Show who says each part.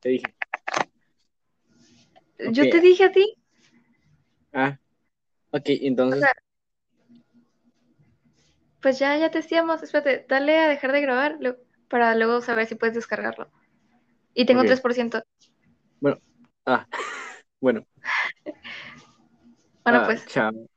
Speaker 1: Te dije.
Speaker 2: Yo
Speaker 1: Ok.
Speaker 2: te dije a ti.
Speaker 1: Ah. Ok,
Speaker 2: O
Speaker 1: entonces.
Speaker 2: sea, pues ya, ya te decíamos. Espérate, dale a dejar de grabar lo- para luego saber si puedes descargarlo. Y tengo
Speaker 1: Ok.
Speaker 2: 3%.
Speaker 1: Bueno. Ah. Bueno.
Speaker 2: Bueno,
Speaker 1: ah,
Speaker 2: pues.
Speaker 1: Chao.